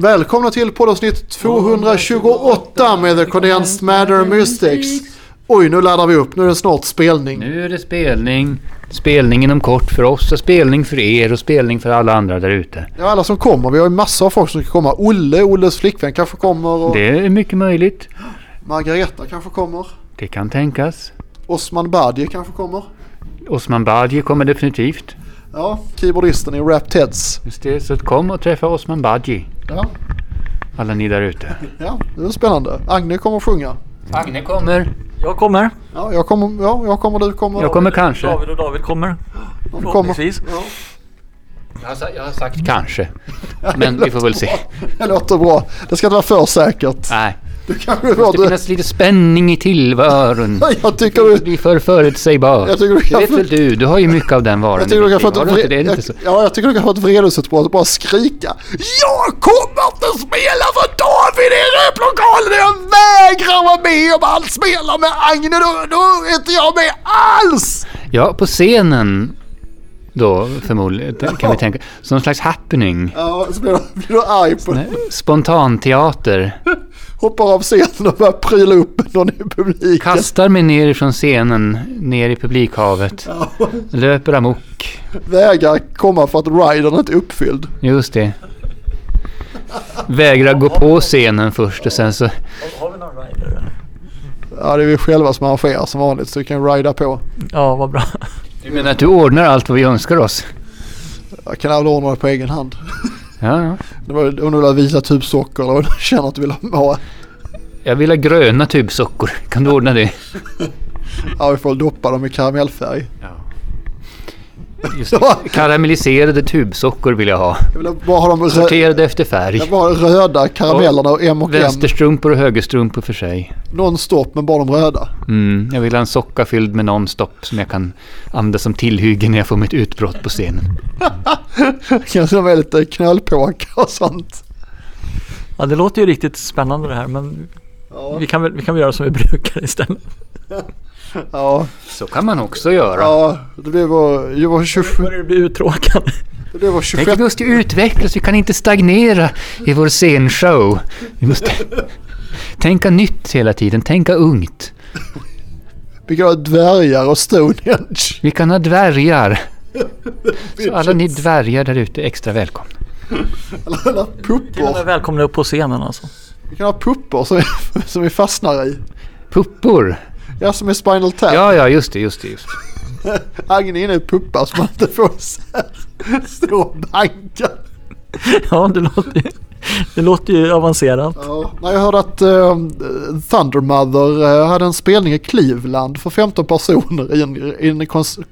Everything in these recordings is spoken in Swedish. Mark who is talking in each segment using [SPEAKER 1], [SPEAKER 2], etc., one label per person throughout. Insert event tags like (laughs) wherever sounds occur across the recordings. [SPEAKER 1] Välkomna till poddavsnitt 228 med The Condensed Matter Mystics. Oj, nu laddar vi upp. Nu är det snart spelning.
[SPEAKER 2] Nu är det spelning. Spelning inom kort för oss och spelning för er och spelning för alla andra där ute.
[SPEAKER 1] Ja, alla som kommer. Vi har ju massa av folk som ska komma. Olle, Olles flickvän kanske kommer. Och
[SPEAKER 2] Det är mycket möjligt.
[SPEAKER 1] Margareta kanske kommer.
[SPEAKER 2] Det kan tänkas.
[SPEAKER 1] Osman Badje kanske kommer.
[SPEAKER 2] Osman Badji kommer definitivt.
[SPEAKER 1] Ja, keyboardisten i Wrapped Heads.
[SPEAKER 2] Just det, så kom och träffa Osman Badji.
[SPEAKER 1] Ja,
[SPEAKER 2] Alla ni där ute.
[SPEAKER 1] ja det är spännande. Agne kommer att sjunga.
[SPEAKER 2] Agne kommer.
[SPEAKER 3] Jag kommer.
[SPEAKER 1] Ja, jag kommer. Ja, jag kommer. Du kommer.
[SPEAKER 2] Jag kommer kanske.
[SPEAKER 3] David och David kommer.
[SPEAKER 1] du kommer.
[SPEAKER 3] Förhoppningsvis.
[SPEAKER 1] Ja,
[SPEAKER 2] Jag har, sa- jag har sagt kanske. (laughs) Men vi får väl se.
[SPEAKER 1] (laughs) det låter bra. Det ska inte vara för säkert.
[SPEAKER 2] Nej.
[SPEAKER 1] Du kanske
[SPEAKER 2] Det
[SPEAKER 1] var
[SPEAKER 2] måste
[SPEAKER 1] det.
[SPEAKER 2] finnas lite spänning i tillvaron.
[SPEAKER 1] (laughs) Jag tycker du...
[SPEAKER 2] Bli för förutsägbar.
[SPEAKER 1] Jag tycker du
[SPEAKER 2] Det
[SPEAKER 1] kan-
[SPEAKER 2] vet väl du? Du har ju mycket av den varan.
[SPEAKER 1] Jag tycker du kan få
[SPEAKER 2] Har
[SPEAKER 1] ett,
[SPEAKER 2] du inte det? Är det inte så?
[SPEAKER 1] vre- ja, jag tycker du kan få ett vredesutbrott och bara skrika Jag kommer inte spela för David i replokalen! Jag vägrar vara med om han spelar med Agne! Då, då är inte jag med alls!
[SPEAKER 2] Ja, på scenen då förmodligen kan vi tänka. Som någon slags happening.
[SPEAKER 1] Ja, så blir du, blir du arg på
[SPEAKER 2] Spontanteater.
[SPEAKER 1] Hoppar av scenen och börjar pryla upp någon i publiken.
[SPEAKER 2] Kastar mig ner från scenen, ner i publikhavet.
[SPEAKER 1] Ja,
[SPEAKER 2] Löper amok.
[SPEAKER 1] vägrar komma för att ridern är inte är uppfylld.
[SPEAKER 2] Just det. Vägrar gå på scenen först och sen så...
[SPEAKER 3] Har vi någon rider?
[SPEAKER 1] Ja, det är vi själva som arrangerar som vanligt så du kan rida på.
[SPEAKER 3] Ja, vad bra.
[SPEAKER 2] Du menar att du ordnar allt vad vi önskar oss?
[SPEAKER 1] Jag kan aldrig ordna det på egen hand.
[SPEAKER 2] Ja, ja.
[SPEAKER 1] Det var, om du vill ha vita tubsockor typ eller vad du känner att du vill ha.
[SPEAKER 2] Jag vill ha gröna tubsockor. Kan du ordna det?
[SPEAKER 1] Ja, vi får väl doppa dem i karamellfärg. (laughs)
[SPEAKER 2] Just det. Karamelliserade tubsockor vill jag ha.
[SPEAKER 1] Jag vill bara ha de, rö-
[SPEAKER 2] Sorterade efter färg.
[SPEAKER 1] Alltså- jag vill ha de röda karamellerna och M och M.
[SPEAKER 2] Vänsterstrumpor och högerstrumpor för sig.
[SPEAKER 1] Non-stop, men bara de röda. (laughs)
[SPEAKER 2] Mm, jag vill ha en socka fylld med non-stop som jag kan använda som tillhygge när jag får mitt utbrott på scenen.
[SPEAKER 1] Kanske de är lite knölpåkar och sånt.
[SPEAKER 3] Ja, det låter ju riktigt spännande det här men
[SPEAKER 1] Ja,
[SPEAKER 3] vi kan väl, vi kan väl göra som vi brukar istället.
[SPEAKER 1] ja,
[SPEAKER 2] Så kan man också göra.
[SPEAKER 1] ja det blev vår, det var 27,
[SPEAKER 3] Börjar det bli uttråkande?
[SPEAKER 1] det blev vår
[SPEAKER 2] Tänk att
[SPEAKER 1] 26,
[SPEAKER 2] vi måste utvecklas, vi kan inte stagnera i vår scenshow. Vi måste tänka nytt hela tiden, tänka ungt.
[SPEAKER 1] vi kan ha dvärgar och Stonehenge. (laughs)
[SPEAKER 2] Vi kan ha dvärgar. Så alla ni dvärgar där ute, extra välkomna.
[SPEAKER 1] Eller, eller
[SPEAKER 3] Till och med
[SPEAKER 1] puppor.
[SPEAKER 3] välkomna upp på scenen alltså. (laughs)
[SPEAKER 1] Vi kan ha puppor som vi, (laughs) som vi fastnar i.
[SPEAKER 2] Puppor!
[SPEAKER 1] Ja, som i Spinal Tap.
[SPEAKER 2] Ja, ja, just det, just det. Just.
[SPEAKER 1] Agne är inne i puppar som man inte får så (laughs) här stå och banka.
[SPEAKER 3] Ja, det låter ju, det låter ju avancerat.
[SPEAKER 1] Ja, när jag hörde att eh, Thundermother eh, hade en spelning i Cleveland för 15 personer i en, i en kons-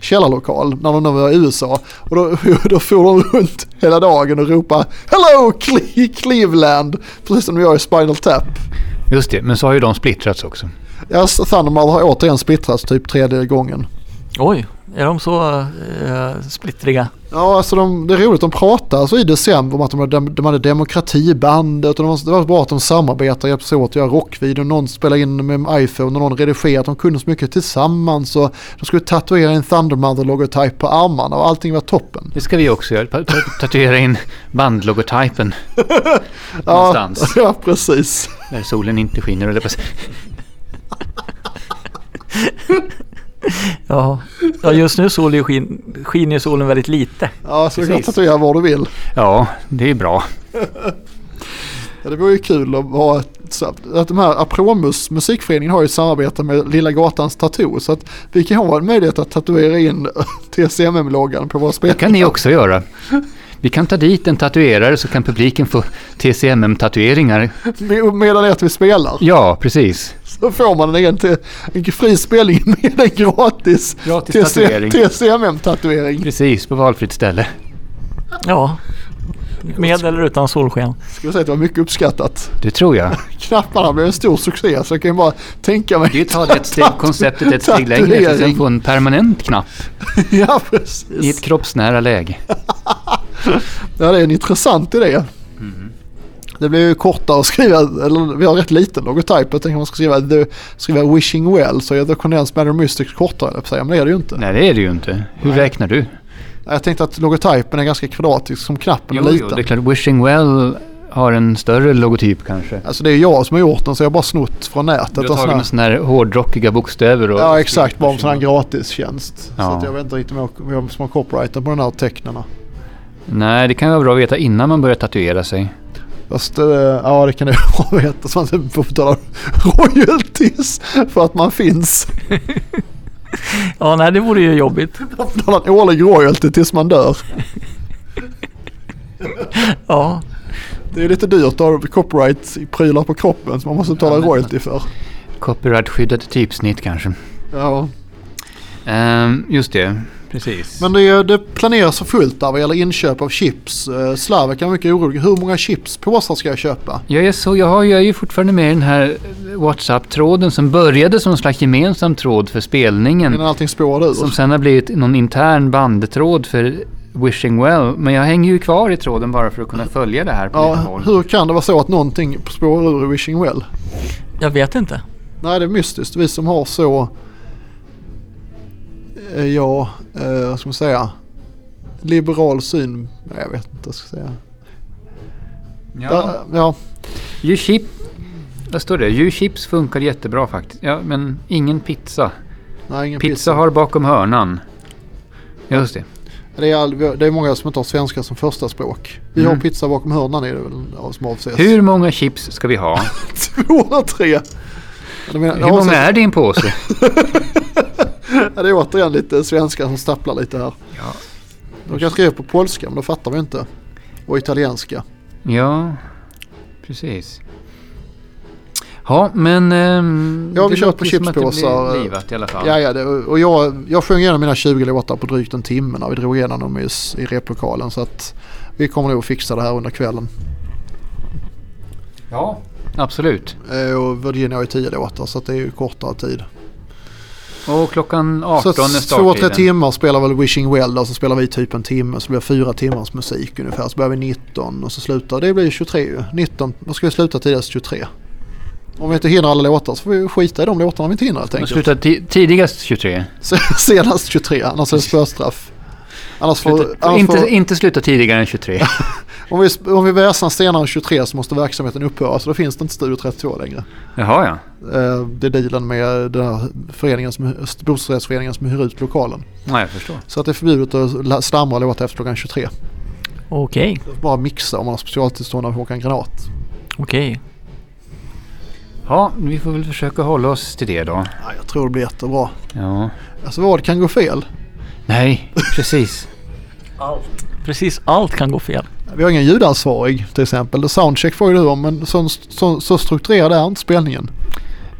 [SPEAKER 1] källarlokal när de nu var i USA. Och då, (laughs) då for de runt hela dagen och ropade Hello Cle- Cleveland! Precis som de gör i Spinal Tap.
[SPEAKER 2] just det, men så har ju de splittrats också.
[SPEAKER 1] Ja, så Thundermother har återigen splittrats typ tredje gången.
[SPEAKER 3] Oj, är de så eh, splittriga?
[SPEAKER 1] Ja, alltså de, det är roligt. De pratar alltså i december om att de hade, de hade demokratibandet. Och de, var- det var bra att de samarbetar, hjälps åt att göra rockvideon. Någon spelade in med iPhone och någon redigerat. De kunde så mycket tillsammans. Och de skulle tatuera en Thundermother-logotyp på armarna och allting var toppen.
[SPEAKER 2] Det ska vi också göra, pa- pa- tatuera in bandlogotypen
[SPEAKER 1] (laughs) Ja,
[SPEAKER 2] någonstans.
[SPEAKER 1] (laughs) ja, precis.
[SPEAKER 2] När solen inte skiner eller på
[SPEAKER 3] Ja, ja just nu sol ju skin, skiner ju solen väldigt lite.
[SPEAKER 1] Ja, så du kan
[SPEAKER 2] Precis.
[SPEAKER 1] tatuera vad du vill.
[SPEAKER 2] Ja, det är bra.
[SPEAKER 1] Ja, det vore ju kul att ha ett, så att- att de här Apromus musikföreningen har ju samarbete med Lilla Gatans Tattoo så att vi kan ha en möjlighet att tatuera in (laughs) TCMM-loggan på våra spel.
[SPEAKER 2] Det kan ni också göra. Vi kan ta dit en tatuerare så kan publiken få TCMM-tatueringar.
[SPEAKER 1] Med- Medan det är att vi spelar
[SPEAKER 2] Ja, precis.
[SPEAKER 1] så får man en, egen till, en fri spelning (laughs) med en gratis,
[SPEAKER 2] Gratis
[SPEAKER 1] TC,
[SPEAKER 2] tatuering.
[SPEAKER 1] TCMM-tatuering.
[SPEAKER 2] Precis, på valfritt ställe.
[SPEAKER 3] Ja, med eller utan solsken.
[SPEAKER 1] Skulle säga att det var mycket uppskattat.
[SPEAKER 2] Det tror jag.
[SPEAKER 1] Knapparna blev en stor succé så jag kan ju bara tänka mig. (laughs)
[SPEAKER 2] Det är ju att ta det ett steg, konceptet ett steg längre. Så sen få en permanent knapp
[SPEAKER 1] Ja
[SPEAKER 2] i
[SPEAKER 1] precis.
[SPEAKER 2] ett kroppsnära läge.
[SPEAKER 1] Ja, det är en intressant idé.
[SPEAKER 2] Mm-hmm.
[SPEAKER 1] Det blir ju kortare att skriva, eller vi har rätt liten logotyp. Jag tänker man ska skriva, the, skriva Wishing Well så är The Condensed Matter Mystics kortare, höll jag på att säga. men det är det ju inte.
[SPEAKER 2] Nej, det är det ju inte. Hur räknar du?
[SPEAKER 1] Jag tänkte att logotypen är ganska kvadratisk som knappen
[SPEAKER 2] Jo,
[SPEAKER 1] är
[SPEAKER 2] jo,
[SPEAKER 1] liten.
[SPEAKER 2] det är klart. Wishing well har en större logotyp kanske.
[SPEAKER 1] Alltså det är jag som har gjort den så jag har bara snott från nätet.
[SPEAKER 2] Du
[SPEAKER 1] och
[SPEAKER 2] har
[SPEAKER 1] sån
[SPEAKER 2] tagit
[SPEAKER 1] här-
[SPEAKER 2] med sådana här hårdrockiga bokstäver och...
[SPEAKER 1] Ja exakt, bara en sån här gratistjänst. Så
[SPEAKER 2] Ja.
[SPEAKER 1] att jag vet inte riktigt om jag- vem som har copyrighten på den här tecknarna.
[SPEAKER 2] Nej, det kan vara bra att veta innan man börjar tatuera sig.
[SPEAKER 1] Fast eh, ja det kan (laughs) jag bra veta så man inte får betala (laughs) royalties för att man finns.
[SPEAKER 3] Ja, nej det vore ju jobbigt.
[SPEAKER 1] Man får betala en årlig royalty tills man dör.
[SPEAKER 3] Ja,
[SPEAKER 1] Det är lite dyrt att ha copyright-prylar på kroppen som man måste betala
[SPEAKER 2] Ja, men-
[SPEAKER 1] royalty för.
[SPEAKER 2] Copyrightskyddat typsnitt kanske.
[SPEAKER 1] Ja.
[SPEAKER 2] Ehm, just det, precis.
[SPEAKER 1] Men det, är- det planeras för fullt där vad gäller inköp av chips. Eh, Slavek är mycket orolig. Hur många chipspåsar ska jag köpa?
[SPEAKER 2] Jag är, så, jag, har, jag är ju fortfarande med i den här WhatsApp-tråden som började som någon slags gemensam tråd för spelningen.
[SPEAKER 1] Innan allting spårar ur.
[SPEAKER 2] Som sen har blivit någon intern bandtråd för Wishing Well. Men jag hänger ju kvar i tråden bara för att kunna följa det här på lite
[SPEAKER 1] Ja,
[SPEAKER 2] håll.
[SPEAKER 1] hur kan det vara så att någonting spårar ur i Wishing Well?
[SPEAKER 3] jag vet inte.
[SPEAKER 1] Nej, det är mystiskt. Vi som har så... eh, Ja, eh, vad ska man säga? Liberal syn. Nej, jag vet inte vad jag ska säga.
[SPEAKER 2] Ja.
[SPEAKER 1] Ja, ja.
[SPEAKER 2] You chip... Vad står det? You chips funkar jättebra faktiskt. Ja, men ingen pizza.
[SPEAKER 1] nej, ingen
[SPEAKER 2] Pizza
[SPEAKER 1] pizza.
[SPEAKER 2] har bakom hörnan. Just det.
[SPEAKER 1] Det, är all, det är många som inte har svenska som första språk. Vi
[SPEAKER 2] Mm.
[SPEAKER 1] har pizza bakom hörnan är det väl av- som avses. (laughs)
[SPEAKER 2] Hur många chips ska vi ha?
[SPEAKER 1] 203! Jag menar,
[SPEAKER 2] Hur många är det i en påse?
[SPEAKER 1] Ja, det är återigen lite svenska som stapplar lite här.
[SPEAKER 2] Ja.
[SPEAKER 1] De kan skriva på polska men då fattar vi inte. Och italienska.
[SPEAKER 2] Ja, precis. Ja, men... ehm,
[SPEAKER 1] Ja, vi
[SPEAKER 2] det
[SPEAKER 1] kör
[SPEAKER 2] låter
[SPEAKER 1] på
[SPEAKER 2] ju som att Det
[SPEAKER 1] chipspåsar. eh.
[SPEAKER 2] blir livat i alla fall.
[SPEAKER 1] Ja, ja, det, och jag, jag sjöng igenom mina 20 låtar på drygt en timme när vi drog igenom dem i, s- i replokalen. Så att vi kommer nog fixa det här under kvällen.
[SPEAKER 2] ja, absolut.
[SPEAKER 1] Eh, Och Virginia har ju 10 låtar så att det är ju kortare tid.
[SPEAKER 2] Och klockan 18
[SPEAKER 1] Så
[SPEAKER 2] är
[SPEAKER 1] att två, tre
[SPEAKER 2] starttiden.
[SPEAKER 1] timmar spelar väl Wishing Well och så spelar vi typ en timme. Så det blir fyra timmars musik ungefär. Så börjar vi 19 och så slutar det blir 23. ju. 19, då ska vi sluta tidigast 23. Om vi inte hinner alla låtar så får vi skita i de låtarna vi inte hinner helt (laughs)
[SPEAKER 2] Och
[SPEAKER 1] enkelt.
[SPEAKER 2] slutar ti- tidigast 23.
[SPEAKER 1] Senast 23, annars är det spöstraff. Annars får,
[SPEAKER 2] Sluta,
[SPEAKER 1] annars
[SPEAKER 2] inte,
[SPEAKER 1] får,
[SPEAKER 2] inte sluta tidigare
[SPEAKER 1] (laughs)
[SPEAKER 2] än 23.
[SPEAKER 1] om, vi, om vi väsnas senare än 23 så måste verksamheten upphöra så då finns det inte Studio 32 längre.
[SPEAKER 2] Jaha, ja.
[SPEAKER 1] Eh, Det är dealen med den här föreningen som, bostadsrättsföreningen som hyr ut lokalen.
[SPEAKER 2] Ja, jag förstår.
[SPEAKER 1] Så att det är förbjudet att la- slamra och låta efter klockan 23.
[SPEAKER 3] Okej,
[SPEAKER 1] Bara mixa om man har specialtillstånd av Håkan Granat.
[SPEAKER 3] okej.
[SPEAKER 2] Ja, vi får väl försöka hålla oss till det då.
[SPEAKER 1] Ja, jag tror det blir jättebra.
[SPEAKER 2] Ja.
[SPEAKER 1] Alltså vad kan gå fel?
[SPEAKER 2] Nej, precis.
[SPEAKER 3] Allt. Precis allt kan gå fel.
[SPEAKER 1] Vi har ingen ljudansvarig till exempel. Soundcheck får ju du om men så, så, så strukturerad är inte spelningen.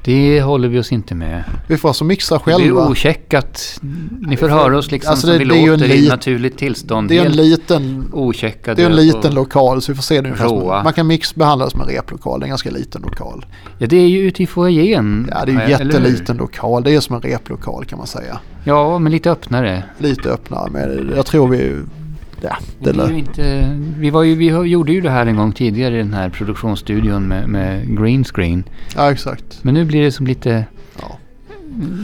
[SPEAKER 2] Det håller vi oss inte med.
[SPEAKER 1] Vi får alltså mixa
[SPEAKER 2] Det blir
[SPEAKER 1] själva.
[SPEAKER 2] ocheckat. Ni får höra oss liksom
[SPEAKER 1] Alltså,
[SPEAKER 2] som
[SPEAKER 1] det-
[SPEAKER 2] vi
[SPEAKER 1] det är ju en
[SPEAKER 2] låter i
[SPEAKER 1] lit-
[SPEAKER 2] naturligt tillstånd.
[SPEAKER 1] Det är en
[SPEAKER 2] Helt
[SPEAKER 1] liten,
[SPEAKER 2] ocheckade
[SPEAKER 1] det är en
[SPEAKER 2] och-
[SPEAKER 1] liten lokal så vi får se det ungefär. som-
[SPEAKER 2] Råa.
[SPEAKER 1] Man kan mix behandla det som en replokal. Det är en ganska liten lokal.
[SPEAKER 2] Ja, det är ju ute i foajén.
[SPEAKER 1] Ja det är ju
[SPEAKER 2] eller hur?
[SPEAKER 1] jätteliten lokal. Det är som en replokal kan man säga.
[SPEAKER 2] Ja, men lite öppnare.
[SPEAKER 1] Lite öppnare men jag tror vi... Ja,
[SPEAKER 2] Det
[SPEAKER 1] det
[SPEAKER 2] är ju
[SPEAKER 1] lär.
[SPEAKER 2] inte, vi, var ju, vi har- gjorde ju det här en gång tidigare i den här produktionsstudion med, med green screen.
[SPEAKER 1] Ja exakt.
[SPEAKER 2] Men nu blir det som lite...
[SPEAKER 1] Ja.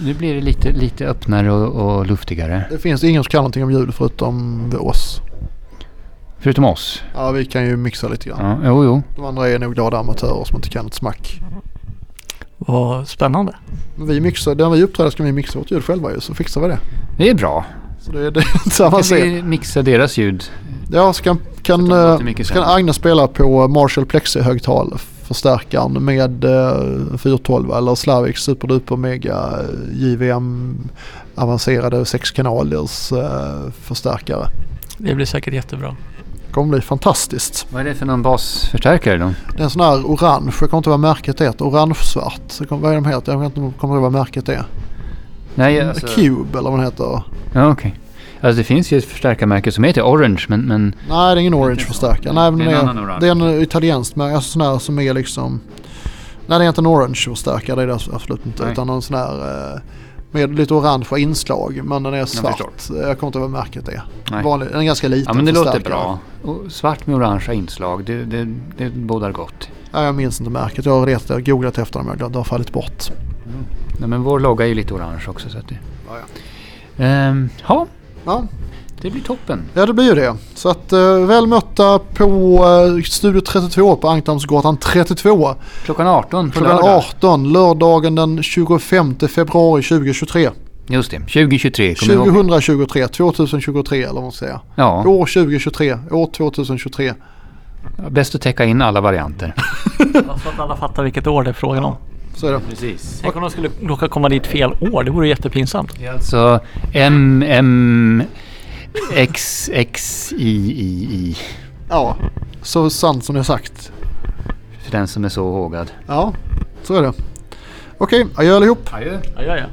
[SPEAKER 2] Nu blir det lite, lite öppnare och, och luftigare.
[SPEAKER 1] Det finns ingen som kan någonting om ljud förutom oss.
[SPEAKER 2] Förutom oss.
[SPEAKER 1] Ja, vi kan ju mixa lite grann.
[SPEAKER 2] Ja, jo, jo.
[SPEAKER 1] De andra är nog glada amatörer som inte kan ett smack.
[SPEAKER 3] Vad spännande.
[SPEAKER 1] Men vi mixar, när vi uppträder ska vi mixa vårt ljud själva ju, så fixar vi det.
[SPEAKER 2] Det är bra.
[SPEAKER 1] Så det, det är inte så
[SPEAKER 2] Kan
[SPEAKER 1] avancerat.
[SPEAKER 2] vi mixa deras ljud?
[SPEAKER 1] Ja, ska, kan,
[SPEAKER 2] Så det låter
[SPEAKER 1] eh,
[SPEAKER 2] mycket
[SPEAKER 1] ska
[SPEAKER 2] sämre.
[SPEAKER 1] Agnes spela på Marshall Plexi-högtalarförstärkaren med eh, 412 eller Slavic Superduper Mega eh, JVM avancerade sexkanalers eh, förstärkare.
[SPEAKER 3] Det blir säkert jättebra.
[SPEAKER 1] Det kommer bli fantastiskt.
[SPEAKER 2] Vad är det för någon basförstärkare då?
[SPEAKER 1] Det är en sån här orange, jag kommer inte ihåg vad märket heter, orange-svart. Så kom- Vad är de heter? Jag vet inte- kommer inte ihåg vad märket är.
[SPEAKER 2] Nej,
[SPEAKER 1] Mm,
[SPEAKER 2] alltså...
[SPEAKER 1] Cube eller vad den heter.
[SPEAKER 2] Ja, okej. Alltså det finns ju ett förstärkarmärke som heter Orange, men... men
[SPEAKER 1] Nej, det är ingen orange förstärkare. Nej, men
[SPEAKER 2] Det är
[SPEAKER 1] det,
[SPEAKER 2] en
[SPEAKER 1] är,
[SPEAKER 2] annan orange.
[SPEAKER 1] det är en italiensk märke. Alltså sån här som är liksom... Nej, det är inte en orange förstärkare. Det är det alltså absolut inte.
[SPEAKER 2] Nej.
[SPEAKER 1] Utan någon sån här eh, med lite orangea inslag. Men den är svart. Eh,
[SPEAKER 2] förstår.
[SPEAKER 1] Jag kommer inte ihåg vad märket är.
[SPEAKER 2] Nej.
[SPEAKER 1] Vanlig, den är ganska liten
[SPEAKER 2] ja, men det låter
[SPEAKER 1] förstärkare.
[SPEAKER 2] bra. Och svart med orangea inslag, det, det, det bådar gott.
[SPEAKER 1] Ja, jag minns inte märket. Jag har retat, jag har googlat efter dem. Det har fallit bort.
[SPEAKER 2] Nej, men vår logga är ju lite orange också. Så att det...
[SPEAKER 1] Ja, ja.
[SPEAKER 2] Ehm, ja,
[SPEAKER 1] Ja,
[SPEAKER 2] Det blir toppen.
[SPEAKER 1] Ja det blir ju det. Så att eh, väl mötta på eh, Studio 32 på Ankdammsgatan 32.
[SPEAKER 2] Klockan 18 på
[SPEAKER 1] Klockan
[SPEAKER 2] lördag.
[SPEAKER 1] 18 lördagen den 25 februari 2023.
[SPEAKER 2] Just det, 2023. Kommer du ihåg?
[SPEAKER 1] 2023, 2023 eller vad man säger.
[SPEAKER 2] Ja,
[SPEAKER 1] År 2023, år 2023.
[SPEAKER 2] bäst att täcka in alla varianter.
[SPEAKER 3] (laughs) Så att alla fattar vilket år det är frågan om.
[SPEAKER 1] Så är det.
[SPEAKER 2] Precis.
[SPEAKER 3] Tänk om de skulle råka komma dit fel år. Det vore jättepinsamt.
[SPEAKER 2] Alltså M, M, X, X, I, I, I.
[SPEAKER 1] Ja, så sant som det är sagt.
[SPEAKER 2] För den som är så hågad.
[SPEAKER 1] Ja, så är det. Okej, adjö allihop.
[SPEAKER 2] Adjö.
[SPEAKER 3] Ja, ja, ja.